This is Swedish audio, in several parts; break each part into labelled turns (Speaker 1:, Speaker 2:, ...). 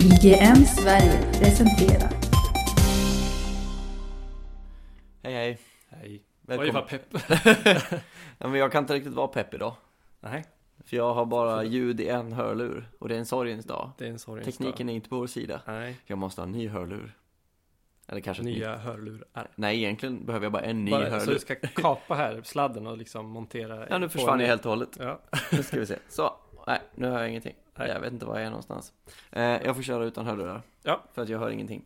Speaker 1: IGM Sverige presenterar
Speaker 2: Hej hej!
Speaker 3: Hej. Oj
Speaker 2: Välkommen!
Speaker 3: vad pepp.
Speaker 2: Ja, men jag kan inte riktigt vara pepp idag.
Speaker 3: Nej,
Speaker 2: För jag har bara ljud i en hörlur och det är en sorgens dag.
Speaker 3: det är en sorgens
Speaker 2: Tekniken är inte på vår sida.
Speaker 3: dag. Nej,
Speaker 2: Jag måste ha en ny hörlur. Eller kanske ett nytt.
Speaker 3: nya hörlurar.
Speaker 2: Nej, egentligen behöver jag bara en ny
Speaker 3: Bara, så
Speaker 2: hörlur.
Speaker 3: du ska kapa här sladden och liksom montera.
Speaker 2: Ja, nu
Speaker 3: på
Speaker 2: försvann
Speaker 3: en-
Speaker 2: jag helt och hållet.
Speaker 3: Ja,
Speaker 2: Nu ska vi se. Så! Nej, nu hör jag ingenting.
Speaker 3: Nej.
Speaker 2: Jag vet inte var jag är någonstans. Eh, jag får köra utan hörlurar.
Speaker 3: Ja.
Speaker 2: För att jag hör ingenting.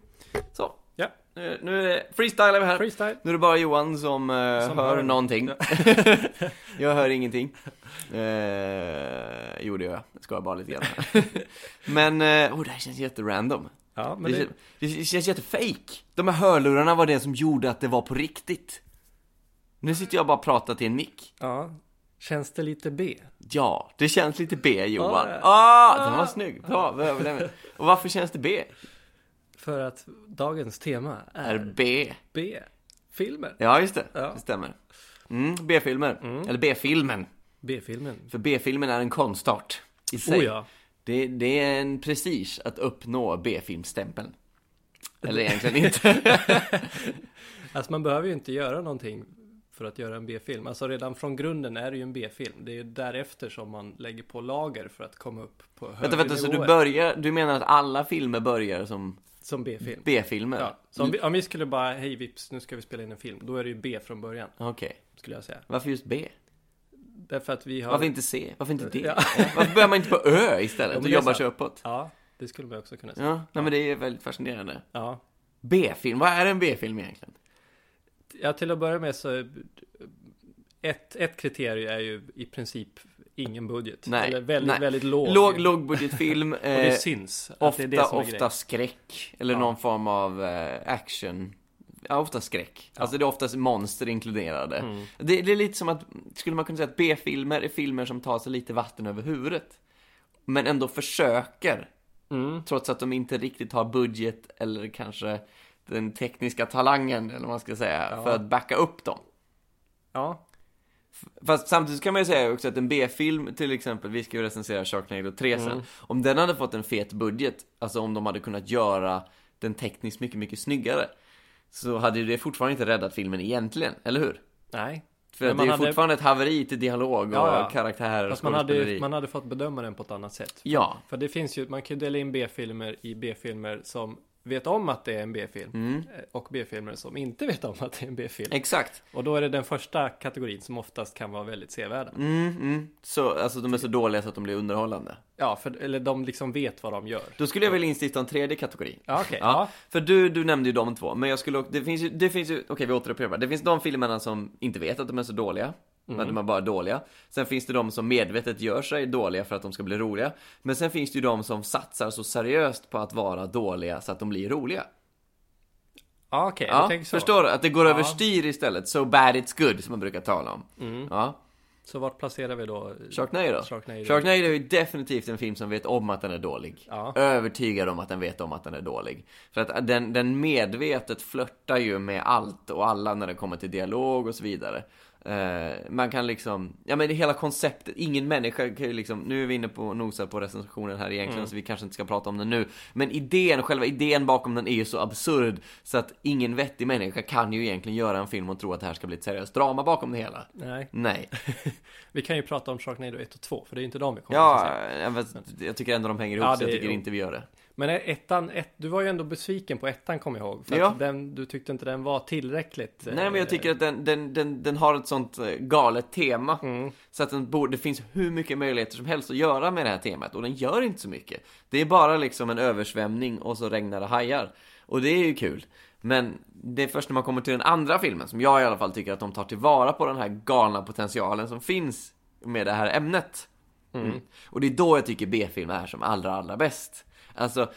Speaker 2: Så!
Speaker 3: Ja.
Speaker 2: Nu, nu är- freestylar vi här.
Speaker 3: freestyle.
Speaker 2: Nu är det bara Johan som, eh,
Speaker 3: Som
Speaker 2: hör
Speaker 3: hör.
Speaker 2: någonting. jag hör ingenting. Eh, jo, det gör jag. Jag skojar bara lite grann. men, eh, oh, det här känns jätterandom.
Speaker 3: Ja,
Speaker 2: Det,
Speaker 3: men det,
Speaker 2: kän- det känns jättefake. De här hörlurarna var det som gjorde att det var på riktigt. Nu sitter jag och bara och pratar till en mick.
Speaker 3: ja. Känns det lite B?
Speaker 2: Ja, det känns lite B Johan.
Speaker 3: Ja.
Speaker 2: Ah, den var snygg. Bra, vi överlämnar. Och varför känns det B?
Speaker 3: För att dagens tema
Speaker 2: Är
Speaker 3: är
Speaker 2: B.
Speaker 3: B. Filmer.
Speaker 2: Ja, just det.
Speaker 3: Ja.
Speaker 2: Det stämmer. Mm, B-filmer. Eller B-filmen.
Speaker 3: B-filmen.
Speaker 2: För B-filmen är en konstart i sig.
Speaker 3: Oh ja.
Speaker 2: det, det är en prestige att uppnå B-filmstämpeln. Eller egentligen inte.
Speaker 3: Alltså man behöver ju inte göra någonting för att göra en B-film. Alltså redan från grunden är det ju en B-film. Det är ju därefter som man lägger på lager för att komma upp på högre
Speaker 2: vänta, vänta, så du
Speaker 3: nivåer
Speaker 2: börjar, du menar att alla filmer börjar som
Speaker 3: som B-film.
Speaker 2: B-filmer?
Speaker 3: Ja, så om vi, om vi skulle bara, hej vips, nu ska vi spela in en film. Då är det ju B från början,
Speaker 2: Okej,
Speaker 3: skulle jag säga.
Speaker 2: varför just B?
Speaker 3: Därför att vi har...
Speaker 2: Varför inte C? Varför inte D?
Speaker 3: Ja.
Speaker 2: Varför börjar man inte på Ö istället
Speaker 3: Ja, men
Speaker 2: och
Speaker 3: det är
Speaker 2: jobbar
Speaker 3: sant.
Speaker 2: sig uppåt?
Speaker 3: Ja, det skulle man också kunna säga.
Speaker 2: Ja, nej men det är väldigt fascinerande.
Speaker 3: Ja.
Speaker 2: B-film, vad är en B-film egentligen?
Speaker 3: ja, till att börja med så... Ett, ett kriterium är ju i princip ingen budget.
Speaker 2: Nej,
Speaker 3: Eller väldigt,
Speaker 2: nej.
Speaker 3: väldigt låg.
Speaker 2: Låg, lågbudgetfilm,
Speaker 3: Och det
Speaker 2: eh,
Speaker 3: syns. att
Speaker 2: ofta,
Speaker 3: det är det som är
Speaker 2: ofta skräck. Eller
Speaker 3: Ja.
Speaker 2: någon form av eh, action. Ja, ofta skräck. Alltså det är oftast monster inkluderade.
Speaker 3: grejen. Mm.
Speaker 2: Det, det är lite som att, skulle man kunna säga att B-filmer är filmer som tar sig lite vatten över huvudet. Men ändå försöker,
Speaker 3: Mm.
Speaker 2: trots att de inte riktigt har budget eller kanske den tekniska talangen, eller vad man ska säga,
Speaker 3: Ja.
Speaker 2: för att backa upp dem.
Speaker 3: Ja,
Speaker 2: Fast samtidigt kan man ju säga också att en B-film till exempel, vi ska ju recensera Sharknado 3 sen.
Speaker 3: Mm.
Speaker 2: Om den hade fått en fet budget, alltså om de hade kunnat göra den tekniskt mycket, mycket snyggare. Så hade ju det fortfarande inte räddat filmen egentligen, eller hur?
Speaker 3: nej.
Speaker 2: För
Speaker 3: Men
Speaker 2: att det är
Speaker 3: man
Speaker 2: ju
Speaker 3: hade-
Speaker 2: fortfarande ett haveri till dialog och
Speaker 3: Ja, ja.
Speaker 2: karaktärer och
Speaker 3: Fast man hade,
Speaker 2: skådespeleri.
Speaker 3: man hade fått bedöma den på ett annat sätt.
Speaker 2: Ja,
Speaker 3: För det finns ju, man kan ju dela in B-filmer i B-filmer som vet om att det är en B-film.
Speaker 2: mm.
Speaker 3: eh, och B-filmer som inte vet om att det är en B-film.
Speaker 2: exakt.
Speaker 3: Och då är det den första kategorin som oftast kan vara väldigt sevärda.
Speaker 2: Mm, mm. Så, alltså de är så dåliga så att de blir underhållande.
Speaker 3: Ja, för, eller de liksom vet vad de gör.
Speaker 2: Då skulle jag vilja instifta en tredje kategori.
Speaker 3: Ja, okej.
Speaker 2: Ja.
Speaker 3: Ja.
Speaker 2: För du, du nämnde ju de två, men jag skulle också- det finns ju, det finns ju, okej vi återupprepar, det finns de filmerna som inte vet att de är så dåliga, men
Speaker 3: Mm.
Speaker 2: att de är bara dåliga. Sen finns det de som medvetet gör sig dåliga för att de ska bli roliga. Men sen finns det ju de som satsar så seriöst på att vara dåliga så att de blir roliga.
Speaker 3: Ja, okej.
Speaker 2: Ja,
Speaker 3: jag tänker så.
Speaker 2: förstår du? Att det går
Speaker 3: Ja.
Speaker 2: överstyr istället, so bad it's good som man brukar tala om.
Speaker 3: Mm.
Speaker 2: Ja,
Speaker 3: Så vart placerar vi då?
Speaker 2: Sharknado.
Speaker 3: Sharknado.
Speaker 2: Sharknado är ju definitivt en film som vet om att den är dålig.
Speaker 3: Ja.
Speaker 2: Övertygad om att den vet om att den är dålig. För att den, den medvetet flörtar ju med allt och alla när det kommer till dialog och så vidare. Eh, man kan liksom, ja men det hela konceptet, ingen människa kan ju liksom, nu är vi inne på och nosar på recensionen här egentligen så vi kanske inte ska prata om den nu. Men idén, själva idén bakom den är ju så absurd så att ingen vettig människa kan ju egentligen göra en film och tro att det här ska bli ett seriöst drama bakom det hela.
Speaker 3: Nej,
Speaker 2: Nej.
Speaker 3: vi kan ju prata om Sharknado 1 och 2, för det är ju inte de vi kommer att
Speaker 2: Ja,
Speaker 3: se.
Speaker 2: jag, vet, jag tycker ändå de hänger ihop
Speaker 3: Ja,
Speaker 2: så jag
Speaker 3: det-
Speaker 2: tycker inte vi gör det.
Speaker 3: Men ettan, ett, du var ju ändå besviken på ettan, kommer jag ihåg. För
Speaker 2: Ja.
Speaker 3: att den, du tyckte inte den var tillräckligt... eh,
Speaker 2: Nej men jag tycker att den, den, den, den har ett sånt eh, galet tema. Så att den borde, det finns hur mycket möjligheter som helst att göra med det här temat och den gör inte så mycket. Det är bara liksom en översvämning och så regnar det hajar. Och det är ju kul. Men det är först när man kommer till den andra filmen som jag i alla fall tycker att de tar tillvara på den här galna potentialen som finns med det här ämnet. Mm. Och det är då jag tycker B-film är som allra, allra bäst. Alltså,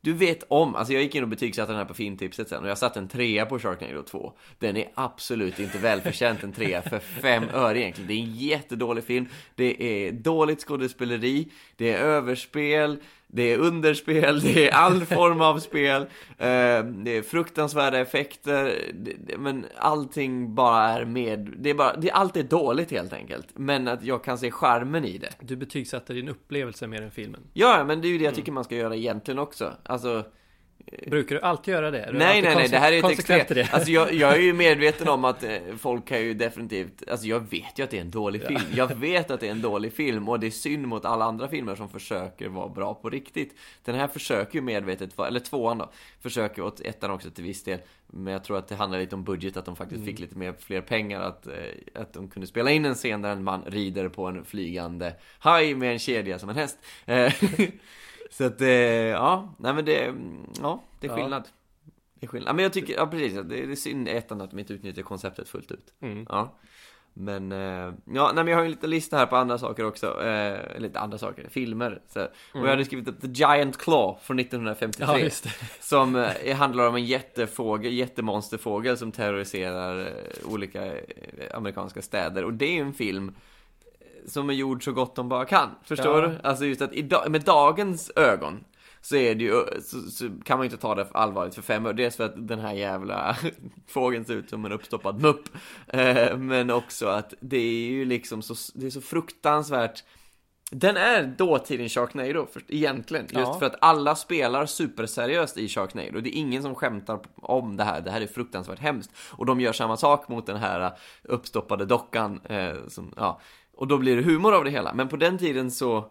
Speaker 2: du vet om, alltså jag gick in och betygsatte den här på filmtipset sen och jag satte en trea på Sharknado 2. Den är absolut inte välförtjänt en trea för fem öre egentligen. Det är en jättedålig film, det är dåligt skådespeleri, det är överspel, det är underspel, det är all form av spel, eh, det är fruktansvärda effekter, det, det, men allting bara är med, det är bara, det, allt är dåligt helt enkelt. Men att jag kan se charmen i det.
Speaker 3: Du betygsätter din upplevelse mer än filmen.
Speaker 2: Ja, men det är ju det jag tycker man ska göra egentligen också. Alltså,
Speaker 3: Brukar du alltid göra det? Är du
Speaker 2: Nej,
Speaker 3: alltid
Speaker 2: nej, nej,
Speaker 3: konse-
Speaker 2: det här är ett
Speaker 3: konsekvent
Speaker 2: extremt.
Speaker 3: i det?
Speaker 2: Alltså jag, jag är ju medveten om att eh, folk kan ju definitivt, alltså jag vet ju att det är en dålig film. Jag vet att det är en dålig film och det är synd mot alla andra filmer som försöker vara bra på riktigt. Den här försöker ju medvetet, vara- eller tvåan då, försöker åt ettan också till viss del. Men jag tror att det handlar lite om budget, att de faktiskt
Speaker 3: Mm.
Speaker 2: fick lite mer, fler pengar. Att, eh, att de kunde spela in en scen där en man rider på en flygande haj med en kedja som en häst. Eh, Så att, eh, ja, nej men det, ja, det är
Speaker 3: Ja.
Speaker 2: skillnad. Det är skillnad. Ja, men jag tycker, ja precis, det det är synd i ettan att de inte utnyttjar konceptet fullt ut.
Speaker 3: Mm.
Speaker 2: Ja. Men, eh, ja, nej, men jag har ju en liten lista här på andra saker också, eh, lite andra saker, filmer. Så. Och jag hade skrivit upp The Giant Claw från 1953.
Speaker 3: Mm. Ja, visst.
Speaker 2: Som eh, handlar om en jättefågel, jättemonsterfågel som terroriserar eh, olika eh, amerikanska städer. Och det är ju en film eh, som är gjord så gott de bara kan. Förstår
Speaker 3: Ja.
Speaker 2: du? Alltså just att idag, med dagens ögon så, är det ju, eh, så, så kan man ju inte ta det för allvarligt för fem år. Dels för att den här jävla fågeln ser ut som en uppstoppad mupp. Eh, men också att det är ju liksom så, det är så fruktansvärt den är dåtidens Sharknado för, egentligen, just
Speaker 3: Ja.
Speaker 2: för att alla spelar superseriöst i Sharknado. Det är ingen som skämtar om det här, det här är fruktansvärt hemskt. Och de gör samma sak mot den här eh, uppstoppade dockan. Eh, som, ja. Och då blir det humor av det hela. Men på den tiden så,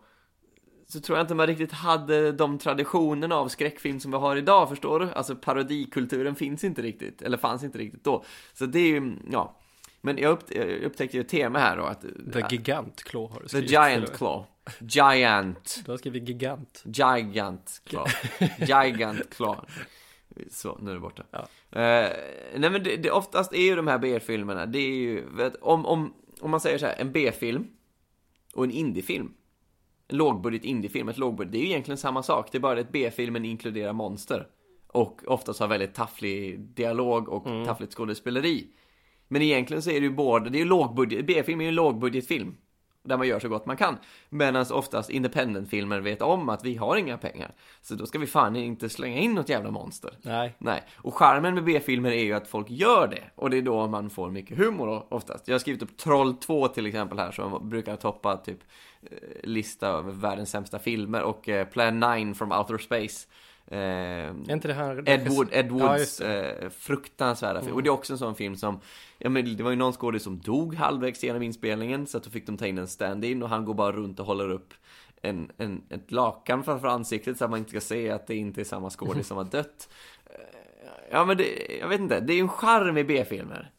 Speaker 2: så tror jag inte man riktigt hade de traditionerna av skräckfilm som vi har idag, förstår du? Alltså parodikulturen finns inte riktigt, eller fanns inte riktigt då. Så det är ju, ja. Men jag, upp, jag upptäckte ju ett tema här då, att...
Speaker 3: The Gigant Claw har du
Speaker 2: The
Speaker 3: skrivit.
Speaker 2: Giant Claw. Giant.
Speaker 3: Du har skrivit Gigant.
Speaker 2: Gigant Claw. Gigant Claw. Så, nu är det borta.
Speaker 3: Ja.
Speaker 2: Eh, nej men det, det oftast är ju de här B-filmerna, det är ju, vet, om, om, om man säger så här, en B-film och en indiefilm. En lågbudget indiefilm, ett lågbudget, det är ju egentligen samma sak. Det är bara det att B-filmen inkluderar monster. Och oftast har väldigt tafflig dialog och taffligt skådespeleri. Men egentligen så är det ju både, det är ju lågbudget, B-film är ju en lågbudgetfilm. Där man gör så gott man kan. Medan oftast independentfilmer vet om att vi har inga pengar. Så då ska vi fan inte slänga in något jävla monster.
Speaker 3: Nej.
Speaker 2: Nej, och charmen med B-filmer är ju att folk gör det. Och det är då man får mycket humor o- oftast. Jag har skrivit upp Troll 2 till exempel här som brukar toppa typ eh, lista över världens sämsta filmer. Och eh, Plan 9 from Outer Space. Eh,
Speaker 3: Är inte det här...
Speaker 2: Ed, Wood, Ed
Speaker 3: Ja,
Speaker 2: Woods
Speaker 3: just
Speaker 2: eh, fruktansvärda film. Och det är också en sån film som, ja men det var ju någon skådis som dog halvvägs genom inspelningen så att då fick de ta in en stand-in och han går bara runt och håller upp en, en, ett lakan framför ansiktet så att man inte ska se att det inte är samma skådis som har dött. Eh, Ja men det, jag vet inte, det är ju en charm i B-filmer.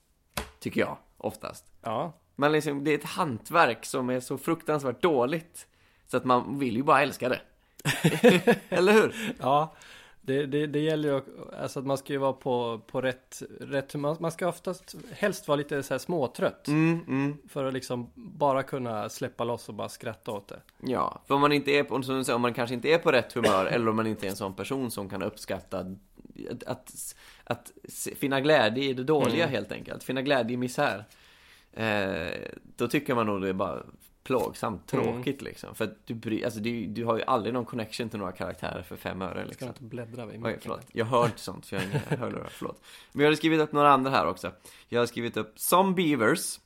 Speaker 2: Tycker jag, oftast.
Speaker 3: Ja.
Speaker 2: Men liksom, det är ett hantverk som är så fruktansvärt dåligt. Så att man vill ju bara älska det. Eller hur?
Speaker 3: Ja, det, det, det gäller ju att- alltså att man ska ju vara på, på rätt, rätt humör. Man ska oftast helst vara lite så här småtrött
Speaker 2: Mm, mm.
Speaker 3: för att liksom bara kunna släppa loss och bara skratta åt det.
Speaker 2: Ja, för om man, inte är på, som du säger, om man kanske inte är på rätt humör eller om man inte är en sån person som kan uppskatta att, att, att se- finna glädje i det dåliga
Speaker 3: Mm.
Speaker 2: helt enkelt, finna glädje i misär. Eh, då tycker man nog det är bara plågsamt
Speaker 3: Mm.
Speaker 2: tråkigt liksom. För att du, bry, alltså, du, du har ju aldrig någon connection till några karaktärer för fem öre
Speaker 3: Ska
Speaker 2: liksom.
Speaker 3: du inte bläddra vid
Speaker 2: Oj,
Speaker 3: micken?
Speaker 2: förlåt. Jag hör inte sånt för jag har inga hörlurar. Förlåt. Men jag har skrivit upp några andra här också. Jag har skrivit upp Some Beavers.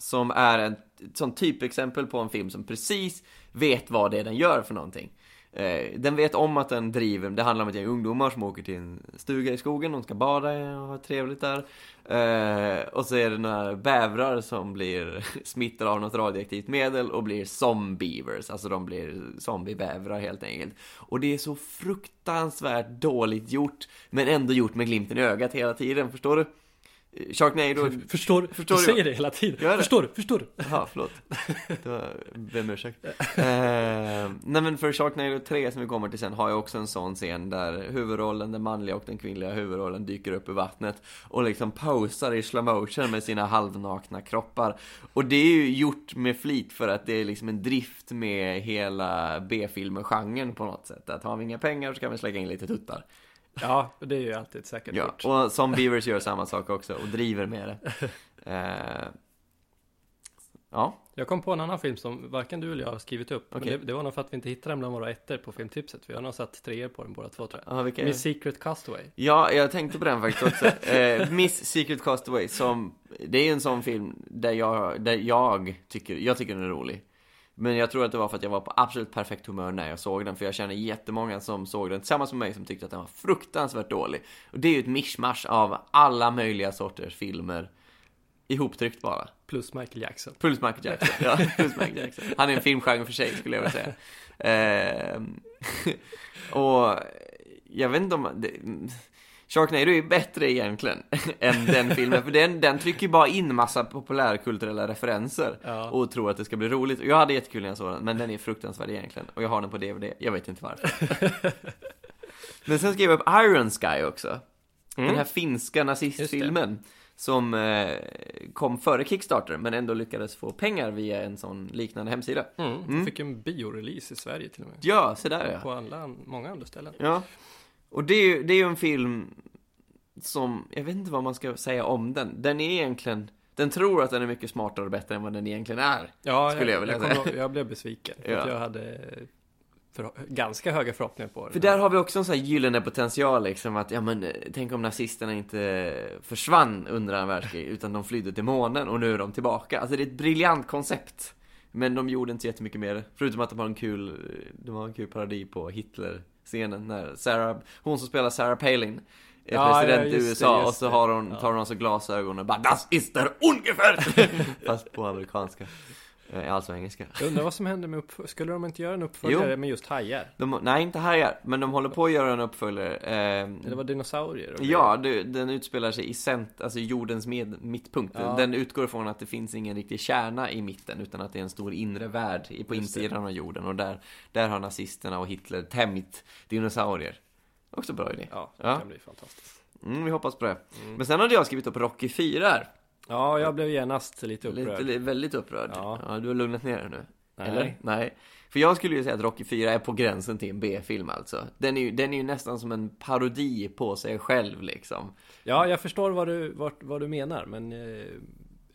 Speaker 2: Som är en, ett sånt typexempel på en film som precis vet vad det är den gör för någonting. Eh, den vet om att den driver, det handlar om att jag är ungdomar som åker till en stuga i skogen, de ska bada och ha trevligt där. Eh, och så är det några bävrar som blir smittade av något radioaktivt medel och blir zombievers, alltså de blir zombiebävrar helt enkelt. Och det är så fruktansvärt dåligt gjort, men ändå gjort med glimten i ögat hela tiden, förstår du? Eh, Sharknado,
Speaker 3: Förstår du?
Speaker 2: Förstår
Speaker 3: du
Speaker 2: du?
Speaker 3: säger det hela tiden.
Speaker 2: Gör det.
Speaker 3: Förstår du? Förstår du?
Speaker 2: Jaha, förlåt. Det var, ber om ursäkt. Eh, nej men för Sharknado 3 som vi kommer till sen har jag också en sån scen där huvudrollen, den manliga och den kvinnliga huvudrollen dyker upp i vattnet och liksom posar i slow motion med sina halvnakna kroppar. Och det är ju gjort med flit för att det är liksom en drift med hela B-filmgenren på något sätt. Att har vi inga pengar så kan vi slänga in lite tuttar.
Speaker 3: Ja, det är ju alltid säkert
Speaker 2: Ja,
Speaker 3: gjort.
Speaker 2: och som Beavers gör samma sak också och driver med det. Eh, Ehm, Ja,
Speaker 3: Jag kom på en annan film som varken du eller jag har skrivit upp.
Speaker 2: Okej.
Speaker 3: Men det, det var nog för att vi inte hittade den bland våra ettor på filmtipset. Vi har nog satt treor på den båda två tror jag.
Speaker 2: ja vilka är
Speaker 3: Miss
Speaker 2: det?
Speaker 3: Secret Castaway.
Speaker 2: Ja, jag tänkte på den faktiskt också. eh, Miss Secret Castaway, som, det är en sån film där jag, där jag tycker, jag tycker den är rolig. Men jag tror att det var för att jag var på absolut perfekt humör när jag såg den, för jag känner jättemånga som såg den tillsammans med mig som tyckte att den var fruktansvärt dålig. Och det är ju ett mischmasch av alla möjliga sorters filmer, ihoptryckt bara.
Speaker 3: Plus Michael Jackson.
Speaker 2: Puls Michael Jackson. Ja, puls Michael Jackson. Han är en filmgenre för sig skulle jag vilja säga. Ehm, och jag vet inte om... Det, Sharknado är ju bättre egentligen än den filmen, för den, den trycker ju bara in massa populärkulturella referenser
Speaker 3: Ja.
Speaker 2: och tror att det ska bli roligt. Och jag hade jättekul när jag såg den, men den är fruktansvärd egentligen. Och jag har den på DVD, jag vet inte varför. men sen skrev jag upp Iron Sky också. Den här finska nazistfilmen som eh, kom före Kickstarter men ändå lyckades få pengar via en sån liknande hemsida.
Speaker 3: Mm. Fick en biorelease i Sverige till och med.
Speaker 2: Ja, se där ja.
Speaker 3: På alla, många andra ställen.
Speaker 2: ja. Och det är, ju, det är ju en film som, jag vet inte vad man ska säga om den. Den är egentligen, den tror att den är mycket smartare och bättre än vad den egentligen är.
Speaker 3: Ja,
Speaker 2: Skulle jag
Speaker 3: jag,
Speaker 2: vilja
Speaker 3: jag,
Speaker 2: säga.
Speaker 3: kommer ihåg- jag blev besviken. för att
Speaker 2: Ja.
Speaker 3: Jag hade förho- ganska höga förhoppningar på den.
Speaker 2: För där har vi också en sån här gyllene potential liksom att, ja men eh, tänk om nazisterna inte försvann under andra världskriget utan de flydde till månen och nu är de tillbaka. Alltså det är ett briljant koncept. Men de gjorde inte så jättemycket mer, förutom att de har en kul, eh, de har en kul parodi på Hitler-scenen när Sarah, hon som spelar Sarah Palin är
Speaker 3: Ja, ja,
Speaker 2: president
Speaker 3: just
Speaker 2: i
Speaker 3: det,
Speaker 2: USA
Speaker 3: just
Speaker 2: och så
Speaker 3: det.
Speaker 2: har hon, tar hon alltså glasögon och bara Das ist der ungefähr! Fast på amerikanska. Eh, Alltså engelska.
Speaker 3: Jag undrar vad som hände med uppföljare. Skulle de inte göra en uppföljare med just hajar?
Speaker 2: De, nej, inte hajar, men de håller på att göra en uppföljare. ehm,
Speaker 3: Det var dinosaurier? och
Speaker 2: Ja, det, den utspelar sig i cent, alltså jordens med, mittpunkt.
Speaker 3: Ja.
Speaker 2: Den utgår ifrån att det finns ingen riktig kärna i mitten, utan att det är en stor inre värld i- på
Speaker 3: Just det.
Speaker 2: insidan av jorden. Och där, där har nazisterna och Hitler tämjt dinosaurier. Också bra idé.
Speaker 3: grejer. Ja, det
Speaker 2: Ja.
Speaker 3: kan bli fantastiskt.
Speaker 2: Mm, vi hoppas på det. Men sen hade jag skrivit upp Rocky 4 här.
Speaker 3: Ja, jag blev genast lite upprörd.
Speaker 2: Lite, li- väldigt upprörd. Ja.
Speaker 3: Ja.
Speaker 2: du har lugnat ner dig nu.
Speaker 3: Nej.
Speaker 2: Eller? Nej. För jag skulle ju säga att Rocky 4 är på gränsen till en B-film alltså. Den är, ju, den är ju nästan som en parodi på sig själv liksom.
Speaker 3: Ja, jag förstår vad du, vart, vad du menar, men eh,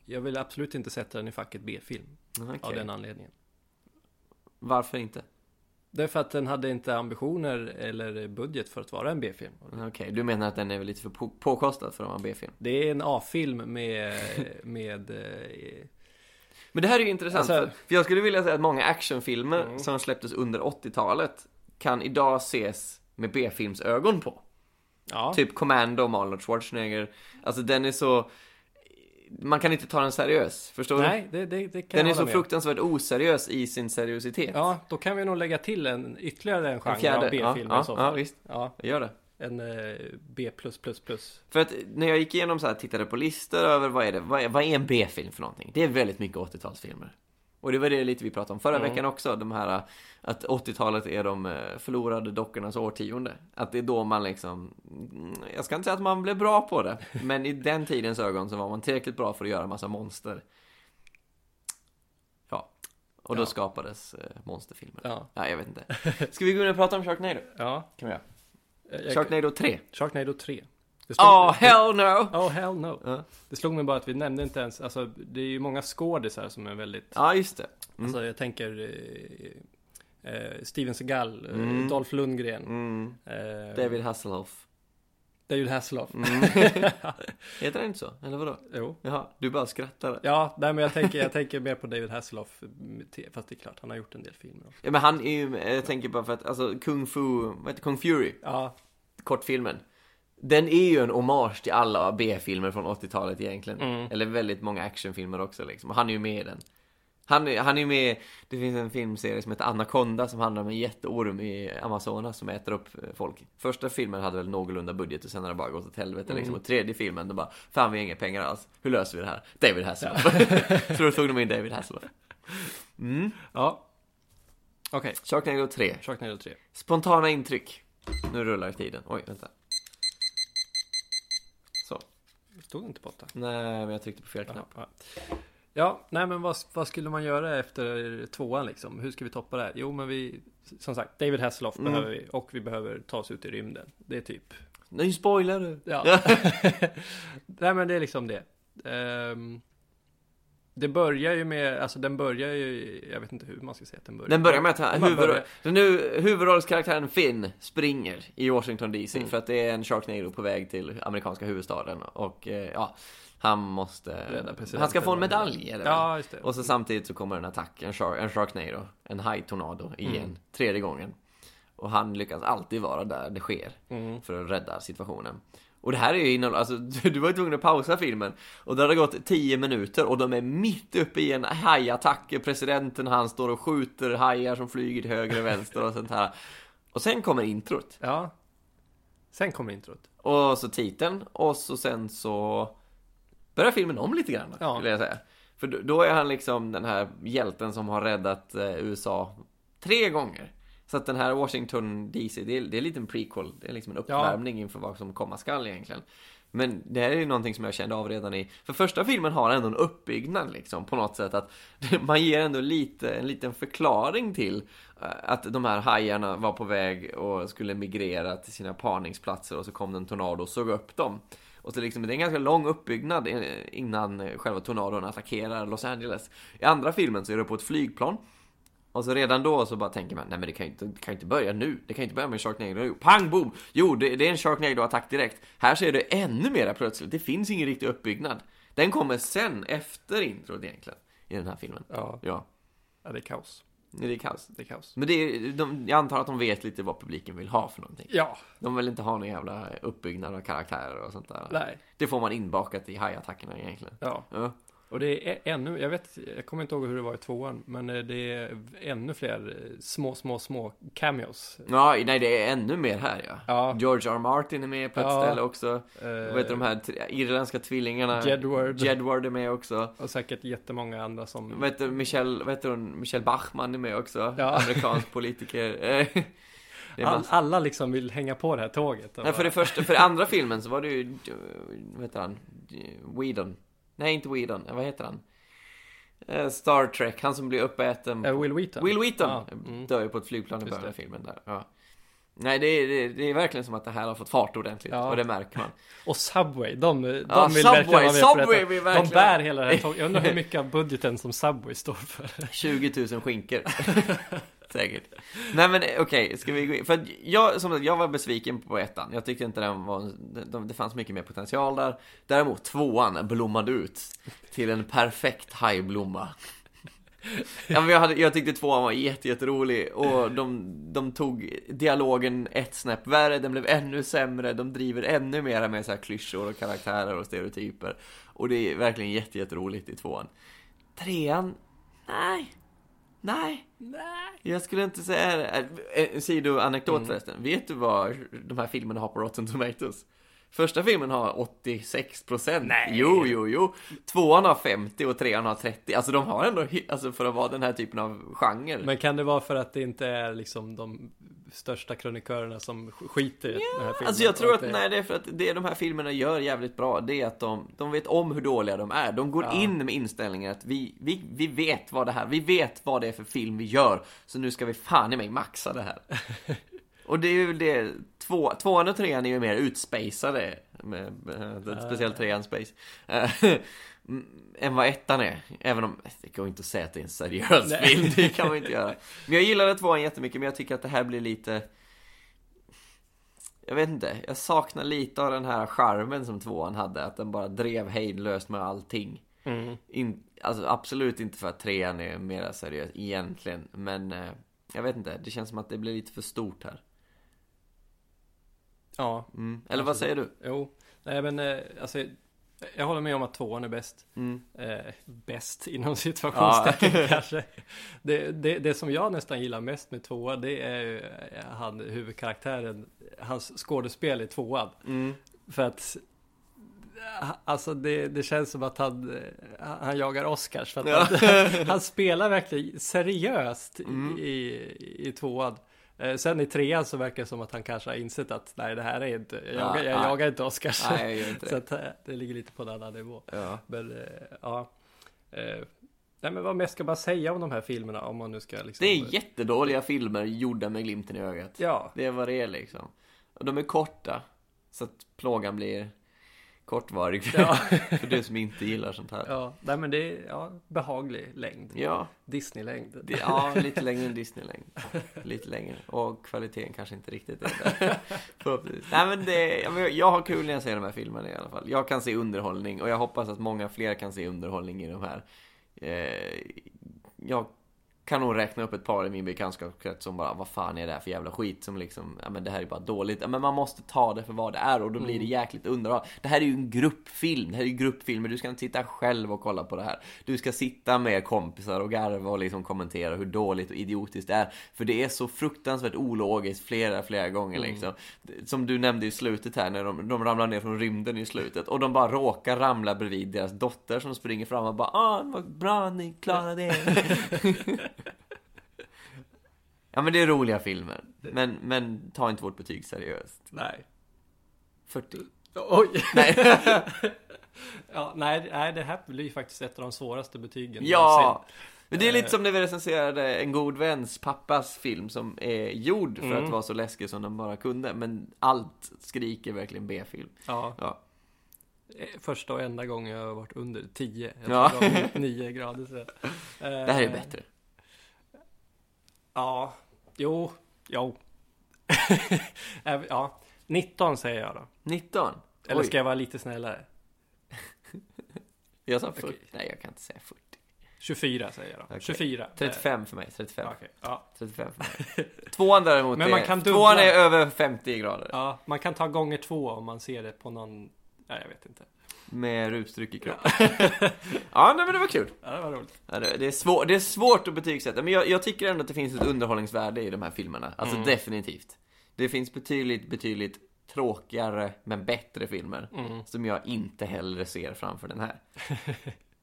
Speaker 3: jag vill absolut inte sätta den i facket B-film av
Speaker 2: Okej.
Speaker 3: den anledningen.
Speaker 2: Varför inte?
Speaker 3: Därför att den hade inte ambitioner eller budget för att vara en B-film.
Speaker 2: Mm, Okej, du menar att den är väl lite för på- påkostad för att vara en B-film?
Speaker 3: Det är en A-film med... med eh,
Speaker 2: Men det här är ju intressant,
Speaker 3: Alltså-
Speaker 2: för, för jag skulle vilja säga att många actionfilmer
Speaker 3: Mm.
Speaker 2: som släpptes under 80-talet kan idag ses med B-filmsögon på.
Speaker 3: ja,
Speaker 2: Typ Commando med Arnold Schwarzenegger. Alltså den är så... Man kan inte ta den seriös, förstår du?
Speaker 3: nej, det, det, det kan
Speaker 2: Den
Speaker 3: jag
Speaker 2: är
Speaker 3: hålla
Speaker 2: så
Speaker 3: med.
Speaker 2: fruktansvärt oseriös i sin seriositet.
Speaker 3: Ja, då kan vi nog lägga till en ytterligare en
Speaker 2: En
Speaker 3: genre
Speaker 2: fjärde.
Speaker 3: av
Speaker 2: Ja,
Speaker 3: B-filmer i
Speaker 2: ja,
Speaker 3: så
Speaker 2: ja,
Speaker 3: fall.
Speaker 2: visst.
Speaker 3: Ja,
Speaker 2: Jag gör det.
Speaker 3: en eh, B++++.
Speaker 2: För att när jag gick igenom så här, tittade på listor över vad är det, vad är, vad är en B-film för någonting? Det är väldigt mycket 80-talsfilmer. Och det var det lite vi pratade om förra
Speaker 3: Mm.
Speaker 2: veckan också, de här eh, att 80-talet är de eh, förlorade dockornas årtionde. Att det är då man liksom, mm, jag ska inte säga att man blev bra på det, men i den tidens ögon så var man tillräckligt bra för att göra massa monster. Ja, och då
Speaker 3: Ja.
Speaker 2: skapades eh, monsterfilmer. Ja.
Speaker 3: Ja,
Speaker 2: jag vet inte. Ska vi gå in och prata om Sharknado?
Speaker 3: ja. Eh,
Speaker 2: Kan vi göra.
Speaker 3: Jag,
Speaker 2: Sharknado 3.
Speaker 3: Sharknado 3. Det står-
Speaker 2: Oh, hell no!
Speaker 3: Oh hell no.
Speaker 2: Ja.
Speaker 3: Det slog mig bara att vi nämnde inte ens, alltså det är ju många skådisar som är väldigt,
Speaker 2: Ja, just det. Mm.
Speaker 3: alltså jag tänker eh, eh, Steven Seagal, eh,
Speaker 2: Mm.
Speaker 3: Dolph Lundgren,
Speaker 2: Mm.
Speaker 3: eh,
Speaker 2: David Mm. Hasselhoff.
Speaker 3: David Hasselhoff.
Speaker 2: Heter han inte så? Eller vadå?
Speaker 3: jo.
Speaker 2: Jaha, du bara skrattar.
Speaker 3: Ja, nej men jag tänker, jag tänker mer på David Hasselhoff, mm, te- fast det är klart, han har gjort en del filmer också.
Speaker 2: Ja, men han är ju, jag tänker bara för att, alltså Kung Fu, vad heter Kung Fury,
Speaker 3: Ja,
Speaker 2: kortfilmen. Den är ju en hommage till alla B-filmer från 80-talet egentligen. Eller väldigt många actionfilmer också liksom. Och han är ju med i den. Han, är- han är med, det finns en filmserie som heter Anaconda som handlar om en jätteorm i Amazonas som äter upp eh, folk. Första filmen hade väl någorlunda budget och sen har det bara gått åt helvete liksom. Och tredje filmen, då bara, fan vi har inga pengar alls. Hur löser vi det här? David Hasselhoff. Så då tog de in David Hasselhoff. Mm.
Speaker 3: ja. Okej,
Speaker 2: Sharknado 3.
Speaker 3: Sharknado 3.
Speaker 2: Spontana intryck. Nu rullar tiden. Oj, vänta. Så.
Speaker 3: Stod inte på åtta?
Speaker 2: Nej, men jag tryckte på fel
Speaker 3: Ja,
Speaker 2: knapp.
Speaker 3: ja. ja, nej men vad, vad skulle man göra efter tvåan liksom? Hur ska vi toppa det här? Jo men vi, som sagt, David Hasselhoff
Speaker 2: Mm.
Speaker 3: behöver vi och vi behöver ta oss ut i rymden. Det är typ,
Speaker 2: Nej, spoiler du!
Speaker 3: ja. nej men det är liksom det. Ehm, Det börjar ju med, alltså den börjar ju, jag vet inte hur man ska säga att den börjar.
Speaker 2: Den börjar med att han-
Speaker 3: Man
Speaker 2: huvud,
Speaker 3: börjar-
Speaker 2: den nu, huvudrollskaraktären Finn springer i Washington DC
Speaker 3: Mm.
Speaker 2: för att det är en Sharknado på väg till amerikanska huvudstaden och eh, ja, han måste...
Speaker 3: Rädda presidenten.
Speaker 2: Han ska få en medalj eller?
Speaker 3: Ja, just det.
Speaker 2: Och så samtidigt så kommer en attack, en, shark, en Sharknado, en hajtornado igen,
Speaker 3: Mm.
Speaker 2: tredje gången. Och han lyckas alltid vara där det sker
Speaker 3: Mm.
Speaker 2: för att rädda situationen. Och det här är ju inom, alltså du du var ju tvungen att pausa filmen och det hade gått 10 minuter och de är mitt uppe i en hajattack. Presidenten han står och skjuter hajar som flyger till höger och vänster och sånt här. Och sen kommer introt
Speaker 3: Ja. Sen kommer introt.
Speaker 2: och så titeln och så sen så börjar filmen om lite grann,
Speaker 3: Ja.
Speaker 2: skulle jag säga. För då- då är han liksom den här hjälten som har räddat eh, USA tre gånger. Så att den här Washington DC, det är, det är en liten prequel, det är liksom en uppvärmning inför vad som komma skall egentligen. Men det här är ju någonting som jag kände av redan i, för första filmen har ändå en uppbyggnad liksom på något sätt att man ger ändå lite, en liten förklaring till eh, att de här hajarna var på väg och skulle migrera till sina parningsplatser och så kom det en tornado och såg upp dem. Och så liksom, det är en ganska lång uppbyggnad eh, innan själva tornadon attackerar Los Angeles. I andra filmen så är det på ett flygplan. Och så redan då så bara tänker man, nej men det kan ju inte, det kan ju inte börja nu. Det kan ju inte börja med en Sharknado. Jo, Pang boom! Jo, det, det är en Sharknado-attack direkt. Här ser det ännu mera plötsligt. Det finns ingen riktig uppbyggnad. Den kommer sen, efter introt egentligen. I den här filmen.
Speaker 3: Ja.
Speaker 2: Ja.
Speaker 3: ja, det är kaos.
Speaker 2: Det är kaos.
Speaker 3: Det är kaos.
Speaker 2: Men det är, de, jag antar att de vet lite vad publiken vill ha för någonting.
Speaker 3: Ja,
Speaker 2: De vill inte ha någon jävla uppbyggnad av karaktärer och sånt där.
Speaker 3: nej.
Speaker 2: Det får man inbakat i hajattackerna egentligen.
Speaker 3: Ja,
Speaker 2: Ja.
Speaker 3: och det är ä- ännu, jag vet, jag kommer inte ihåg hur det var i tvåan, men eh, det är ännu fler eh, små, små, små cameos.
Speaker 2: Ja, nej det är ännu mer här ja.
Speaker 3: Ja,
Speaker 2: George R. Martin är med på ett
Speaker 3: Ja.
Speaker 2: ställe också.
Speaker 3: eh,
Speaker 2: Vad heter de här tre- irländska tvillingarna?
Speaker 3: Jedward.
Speaker 2: Jedward är med också.
Speaker 3: och säkert jättemånga andra som...
Speaker 2: Vad heter Michelle, vad heter hon? Michelle Bachmann är med också.
Speaker 3: Ja.
Speaker 2: Amerikansk politiker. Eh, det är
Speaker 3: All,
Speaker 2: massa.
Speaker 3: alla liksom vill hänga på det här tåget. och
Speaker 2: Nej, för
Speaker 3: bara-
Speaker 2: det första, för det andra filmen så var det ju, vad heter han? Whedon. Nej, inte Whedon. Eh, Vad heter han? Eh, Star Trek, han som blir uppäten.
Speaker 3: Eh, Will Wheaton.
Speaker 2: Will Wheaton
Speaker 3: Ja, mm.
Speaker 2: dör ju på ett flygplan i
Speaker 3: Just
Speaker 2: början av
Speaker 3: det.
Speaker 2: filmen där. Ja. Nej, det är, det, är- det är verkligen som att det här har fått fart ordentligt.
Speaker 3: Ja.
Speaker 2: Och det märker man.
Speaker 3: Och Subway, de, de
Speaker 2: Ja,
Speaker 3: vill
Speaker 2: Subway,
Speaker 3: verkligen vara med på
Speaker 2: Subway
Speaker 3: detta.
Speaker 2: vill
Speaker 3: De
Speaker 2: verkligen-
Speaker 3: bär hela det här tåget. Jag undrar hur mycket av budgeten som Subway står för.
Speaker 2: 20 000 skinkor. Säkert. Nej men eh, okej, ska vi gå in? För att jag, som sagt, jag var besviken på ettan. Jag tyckte inte den var, det- de- det fanns mycket mer potential där. Däremot tvåan blommade ut till en perfekt hajblomma. Ja, men jag, hade, jag tyckte tvåan var jätte- jätterolig och de, de tog dialogen ett snäpp värre, den blev ännu sämre, de driver ännu mera med så här klyschor och karaktärer och stereotyper. Och det är verkligen jätte- jätteroligt i tvåan. Trean, nej, nej.
Speaker 3: Nej.
Speaker 2: Jag skulle inte säga det. Eh, En sidoanekdot förresten. Vet du vad de här filmerna har på Rotten Tomatoes? Första filmen har 86 procent.
Speaker 3: Nej.
Speaker 2: Jo, jo, jo. Tvåan har 50 och trean har 30. Alltså de har ändå, hy- alltså för att vara den här typen av genre.
Speaker 3: Men kan det vara för att det inte är liksom de största krönikörerna som sk- skiter i den här filmen?
Speaker 2: Alltså jag tror
Speaker 3: Och
Speaker 2: att, nej det är för att det de här filmerna gör jävligt bra, det är att de, de vet om hur dåliga de är. De går
Speaker 3: Ja.
Speaker 2: in med inställningen att vi, vi, vi vet vad det här, vi vet vad det är för film vi gör, så nu ska vi fan i mig maxa det här. och det är ju det, två, tvåan och trean är ju mer utspejsade, med, med, med, speciellt trean space, eh, m- än vad ettan är. Även om, det går inte att säga att det är en seriös
Speaker 3: Nej.
Speaker 2: film, det kan man inte göra. Men jag gillade tvåan jättemycket, men jag tycker att det här blir lite jag vet inte, jag saknar lite av den här charmen som tvåan hade, att den bara drev hejdlöst med allting.
Speaker 3: Mm.
Speaker 2: In, alltså absolut inte för att trean är mera seriös egentligen, men eh, jag vet inte, det känns som att det blir lite för stort här.
Speaker 3: Ja,
Speaker 2: Mm. Eller vad säger du?
Speaker 3: jo. Nej men eh, alltså, jag håller med om att tvåan är bäst.
Speaker 2: Mm.
Speaker 3: Eh, bäst inom situationstecken
Speaker 2: Ja.
Speaker 3: kanske. Det, det, det som jag nästan gillar mest med tvåan det är ju eh, han, huvudkaraktären, hans skådespel i tvåan.
Speaker 2: Mm.
Speaker 3: För att eh, Alltså det, det känns som att han, eh, han jagar Oscars för att
Speaker 2: Ja.
Speaker 3: han, han spelar verkligen seriöst i-
Speaker 2: Mm.
Speaker 3: i, i tvåan. Eh, Sen i trean så verkar det som att han kanske har insett att nej det här är inte, jag, jagar- jag
Speaker 2: nej.
Speaker 3: jagar inte Oscars.
Speaker 2: Nej, jag gör inte
Speaker 3: så
Speaker 2: det.
Speaker 3: att eh, det ligger lite på en annan nivå.
Speaker 2: Ja.
Speaker 3: Men eh, ja. Eh, Nej men vad mer ska man säga om de här filmerna om man nu ska liksom
Speaker 2: Det är jättedåliga filmer gjorda med glimten i ögat.
Speaker 3: Ja,
Speaker 2: Det är vad det är liksom. Och de är korta, så att plågan blir kortvarig
Speaker 3: Ja.
Speaker 2: för du som inte gillar sånt här. Ja,
Speaker 3: Ja, nej men det är ja, behaglig längd.
Speaker 2: ja,
Speaker 3: Disney-längd.
Speaker 2: det, ja lite längre än Disneylängd. Lite längre. Och kvaliteten kanske inte riktigt är där. Förhoppningsvis. Nej, men det, jag, men jag har kul när jag ser de här filmerna i alla fall. Jag kan se underhållning och jag hoppas att många fler kan se underhållning i de här. Eh, jag kan nog räkna upp ett par i min bekantskapskrets som bara Vad fan är det här för jävla skit som liksom Ja men det här är bara dåligt ja, Men man måste ta det för vad det är och då blir det jäkligt underhållande Det här är ju en gruppfilm Det här är ju gruppfilmer Du ska inte sitta själv och kolla på det här Du ska sitta med kompisar och garva och liksom kommentera hur dåligt och idiotiskt det är För det är så fruktansvärt ologiskt flera, flera gånger liksom Som du nämnde i slutet här när de, de ramlar ner från rymden i slutet Och de bara råkar ramla bredvid deras dotter som springer fram och bara Ah vad bra ni klarade er Ja men det är roliga filmer. Men, men ta inte vårt betyg seriöst.
Speaker 3: Nej.
Speaker 2: 40.
Speaker 3: Oj!
Speaker 2: Nej.
Speaker 3: Ja, nej, nej, det här blir ju faktiskt ett av de svåraste betygen
Speaker 2: ja! Men det är
Speaker 3: Eh.
Speaker 2: lite som när vi recenserade En god väns pappas film som är gjord för
Speaker 3: Mm.
Speaker 2: att vara så läskig som den bara kunde. Men allt skriker verkligen B-film.
Speaker 3: Ja, Eh,
Speaker 2: Ja.
Speaker 3: första och enda gången jag har varit under 10. Jag
Speaker 2: Ja.
Speaker 3: tror det var 9 grader så. Eh,
Speaker 2: Det här är bättre.
Speaker 3: Ja, jo, jo. Även- ja, 19 säger jag då.
Speaker 2: 19.
Speaker 3: Eller
Speaker 2: Oj,
Speaker 3: ska jag vara lite snällare?
Speaker 2: jag sa 40.
Speaker 3: Okej.
Speaker 2: Nej, jag kan inte säga 40.
Speaker 3: 24 säger jag då.
Speaker 2: Okej.
Speaker 3: 24.
Speaker 2: 35 för mig.
Speaker 3: Eh,
Speaker 2: 35.
Speaker 3: okej, ja.
Speaker 2: 35 för mig. Tvåan däremot
Speaker 3: Men man
Speaker 2: är,
Speaker 3: kan dubbla.
Speaker 2: tvåan är över 50 grader.
Speaker 3: ja, man kan ta gånger två om man ser det på någon... Nej, jag vet inte.
Speaker 2: Med rusdryck i kroppen. ja, nej, men det var kul.
Speaker 3: Ja, det var roligt.
Speaker 2: Ja, Det det är, svår, det är svårt att betygsätta, men jag, jag tycker ändå att det finns ett underhållningsvärde i de här filmerna. Alltså definitivt. Det finns betydligt, betydligt tråkigare men bättre filmer
Speaker 3: Mm.
Speaker 2: som jag inte hellre ser framför den här.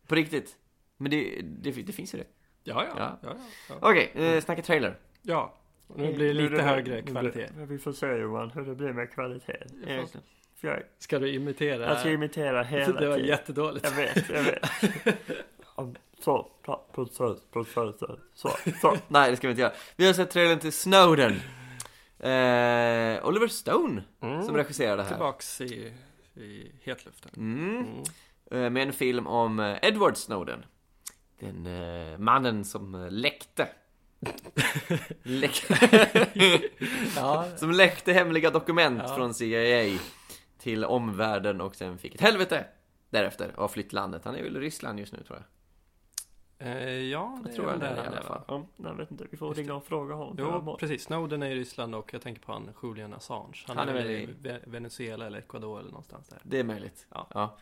Speaker 2: På riktigt. Men det, det, det finns ju det.
Speaker 3: Ja, ja.
Speaker 2: Ja.
Speaker 3: ja. ja, ja.
Speaker 2: Okej, eh, snacka trailer.
Speaker 3: ja. Nu blir det lite högre kvalitet.
Speaker 4: Vi får se Johan hur det blir med kvaliteten.
Speaker 2: Egentligen.
Speaker 4: För jag, alltså,
Speaker 3: Ska du imitera?
Speaker 4: jag ska imitera hela
Speaker 3: det var
Speaker 4: tiden.
Speaker 3: jättedåligt.
Speaker 4: Jag vet, jag vet. Om- Så, ta, process, process, så, så.
Speaker 2: Eh, Nej, det ska vi inte göra. Vi har sett trailern till Snowden. Eh, Oliver Stone som regisserar det här.
Speaker 3: Mm. Tillbaks i, i hetluften.
Speaker 2: Mm. Eh, med en film om eh, Edward Snowden. Den eh, mannen som eh, läckte. Läck
Speaker 3: Ja,
Speaker 2: som läckte hemliga dokument
Speaker 3: Ja.
Speaker 2: från CIA till omvärlden och sen fick ett helvete därefter och har flytt landet. Han är väl i Ryssland just nu tror jag.
Speaker 3: eh, ja det
Speaker 2: Jag tror
Speaker 3: är
Speaker 2: jag det
Speaker 3: väl
Speaker 2: i
Speaker 3: där han
Speaker 2: alla
Speaker 3: är,
Speaker 2: fall.
Speaker 3: va?
Speaker 4: Ja, jag vet inte, vi får
Speaker 3: Just
Speaker 4: ringa och fråga honom. hur han
Speaker 3: Jo,
Speaker 4: mår.
Speaker 3: precis. Snowden är i Ryssland och jag tänker på han Julian Assange. Han, är, väl i Ve- Venezuela eller Ecuador eller någonstans där.
Speaker 2: Det är möjligt.
Speaker 3: Ja. Men Snowden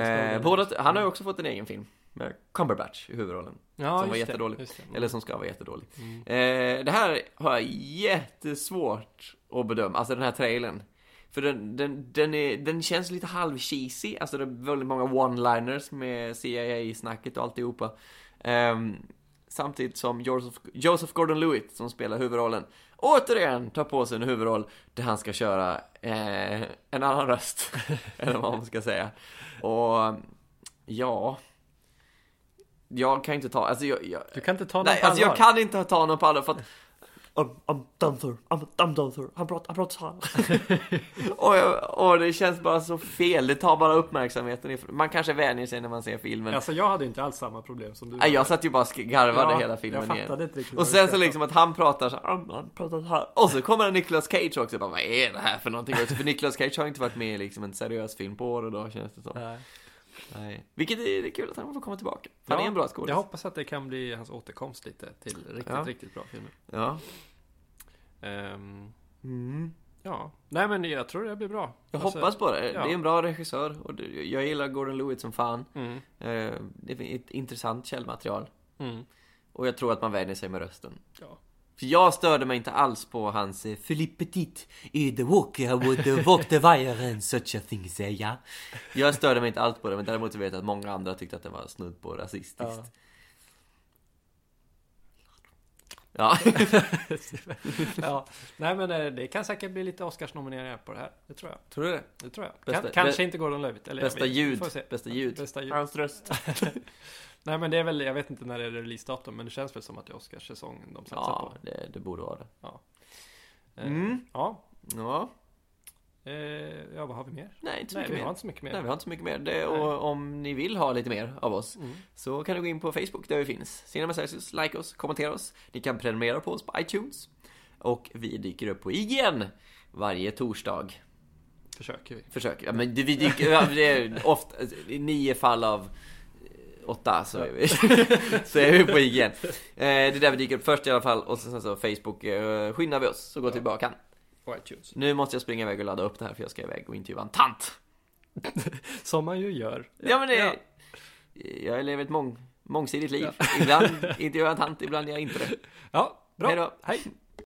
Speaker 2: Eh,
Speaker 3: är
Speaker 2: båda,
Speaker 3: Ryssland.
Speaker 2: han har ju också fått en egen film med Cumberbatch i huvudrollen.
Speaker 3: Ja,
Speaker 2: Som var
Speaker 3: just det,
Speaker 2: jättedålig.
Speaker 3: just det. Mm.
Speaker 2: Eller som ska vara jättedålig.
Speaker 3: Mm.
Speaker 2: Eh, det här har jag jättesvårt att bedöma, alltså den här trailern. För den, den, den, är, den känns lite halv-cheesy, alltså det är väldigt många one-liners med CIA-snacket och alltihopa. Um, samtidigt som Joseph, Joseph Gordon-Lewitt, som spelar huvudrollen, återigen tar på sig en huvudroll där han ska köra eh, en annan röst, eller vad man ska säga. Och ja, jag kan inte ta, alltså jag, jag
Speaker 3: Du kan inte ta den
Speaker 2: Nej,
Speaker 3: på
Speaker 2: alltså jag
Speaker 3: allvar.
Speaker 2: kan inte ta honom på allvar för att
Speaker 4: I'm, I'm dancer, I'm, I'm dancer. Han pratar, han pratar så här.
Speaker 2: och, det känns bara så fel, det tar bara uppmärksamheten ifrån. Man kanske vänjer sig när man ser filmen.
Speaker 3: Alltså jag hade ju inte alls samma problem som du.
Speaker 2: Nej, jag satt ju bara och sk- garvade
Speaker 3: Ja,
Speaker 2: hela filmen
Speaker 3: Jag
Speaker 2: igen.
Speaker 3: fattade inte riktigt.
Speaker 2: Och
Speaker 3: vad
Speaker 2: sen
Speaker 3: du
Speaker 2: så liksom att han pratar så här,
Speaker 4: Han, han pratar så här.
Speaker 2: och så kommer Nicolas Cage också, bara, vad är det här för någonting? Och så- För Nicolas Cage har inte varit med i liksom en seriös film på år och dag känns det som.
Speaker 3: pratade om. Nej.
Speaker 2: Nej. Vilket är, det är kul att han får komma tillbaka. Han
Speaker 3: Ja,
Speaker 2: är en bra
Speaker 3: Jag
Speaker 2: skådis.
Speaker 3: hoppas att det kan bli hans återkomst lite till riktigt,
Speaker 2: Ja.
Speaker 3: riktigt bra filmer.
Speaker 2: Ja.
Speaker 3: Ehm,
Speaker 2: Mm.
Speaker 3: ja, nej men jag tror det blir bra.
Speaker 2: Jag
Speaker 3: Alltså,
Speaker 2: hoppas på det.
Speaker 3: ja.
Speaker 2: Det är en bra regissör och det- jag gillar Gordon Lewitt som fan.
Speaker 3: Mm,
Speaker 2: Eh, Det är ett intressant källmaterial.
Speaker 3: mm,
Speaker 2: Och jag tror att man vänjer sig med rösten.
Speaker 3: ja.
Speaker 2: För jag störde mig inte alls på hans eh, Philippe Petit i The Walker with the Walk the Wire and such a thing say ja. Jag störde mig inte alls på det, men däremot så vet jag att många andra tyckte att det var snudd på rasistiskt. Ja.
Speaker 3: ja. Nej men eh, det kan säkert bli lite Oscarsnomineringar på det här. Det tror jag.
Speaker 2: Tror du det?
Speaker 3: Det tror jag.
Speaker 2: Bästa-
Speaker 3: kan, kanske inte Gordon Levitt. Eller jag
Speaker 2: Bästa
Speaker 3: vet, vi
Speaker 2: ljud.
Speaker 3: får se.
Speaker 2: Bästa ljud.
Speaker 3: Bästa ljud.
Speaker 4: Hans röst.
Speaker 3: Nej men det är väl, jag vet inte när det är releasedatum men det känns väl som att det är Oscarssäsongen de satsar
Speaker 2: Ja,
Speaker 3: på.
Speaker 2: det, det borde vara det.
Speaker 3: Eh,
Speaker 2: Mm.
Speaker 3: Ja.
Speaker 2: Ja.
Speaker 3: Eh, ja, vad har vi mer?
Speaker 2: Nej, inte så
Speaker 3: Nej,
Speaker 2: mycket
Speaker 3: vi
Speaker 2: mer.
Speaker 3: har inte så mycket mer.
Speaker 2: Nej, vi har inte så mycket mer. Det, och om ni vill ha lite mer av oss
Speaker 3: Mm.
Speaker 2: så kan du gå in på Facebook där vi finns. Cinema Celsius, like oss, kommentera oss. Ni kan prenumerera på oss på iTunes. Och vi dyker upp på IGN varje torsdag.
Speaker 3: Försöker vi.
Speaker 2: Försöker. Ja, men det- vi dyker, ja, det är ofta, i nio fall av eh, åtta så är vi, så är vi på IGN. Eh, Det är där vi dyker upp först i alla fall och sen, sen så Facebook eh, skyndar vi oss så går
Speaker 3: Ja.
Speaker 2: tillbaka kan.
Speaker 3: På iTunes.
Speaker 2: Nu måste jag springa iväg och ladda upp det här för jag ska iväg och intervjua en tant.
Speaker 3: Som man ju gör.
Speaker 2: Ja men det
Speaker 3: Ja.
Speaker 2: Jag lever ett mång, mångsidigt liv. Ibland intervjuar jag en tant, ibland gör jag inte det.
Speaker 3: Ja, bra.
Speaker 2: Hej då.
Speaker 3: Hej.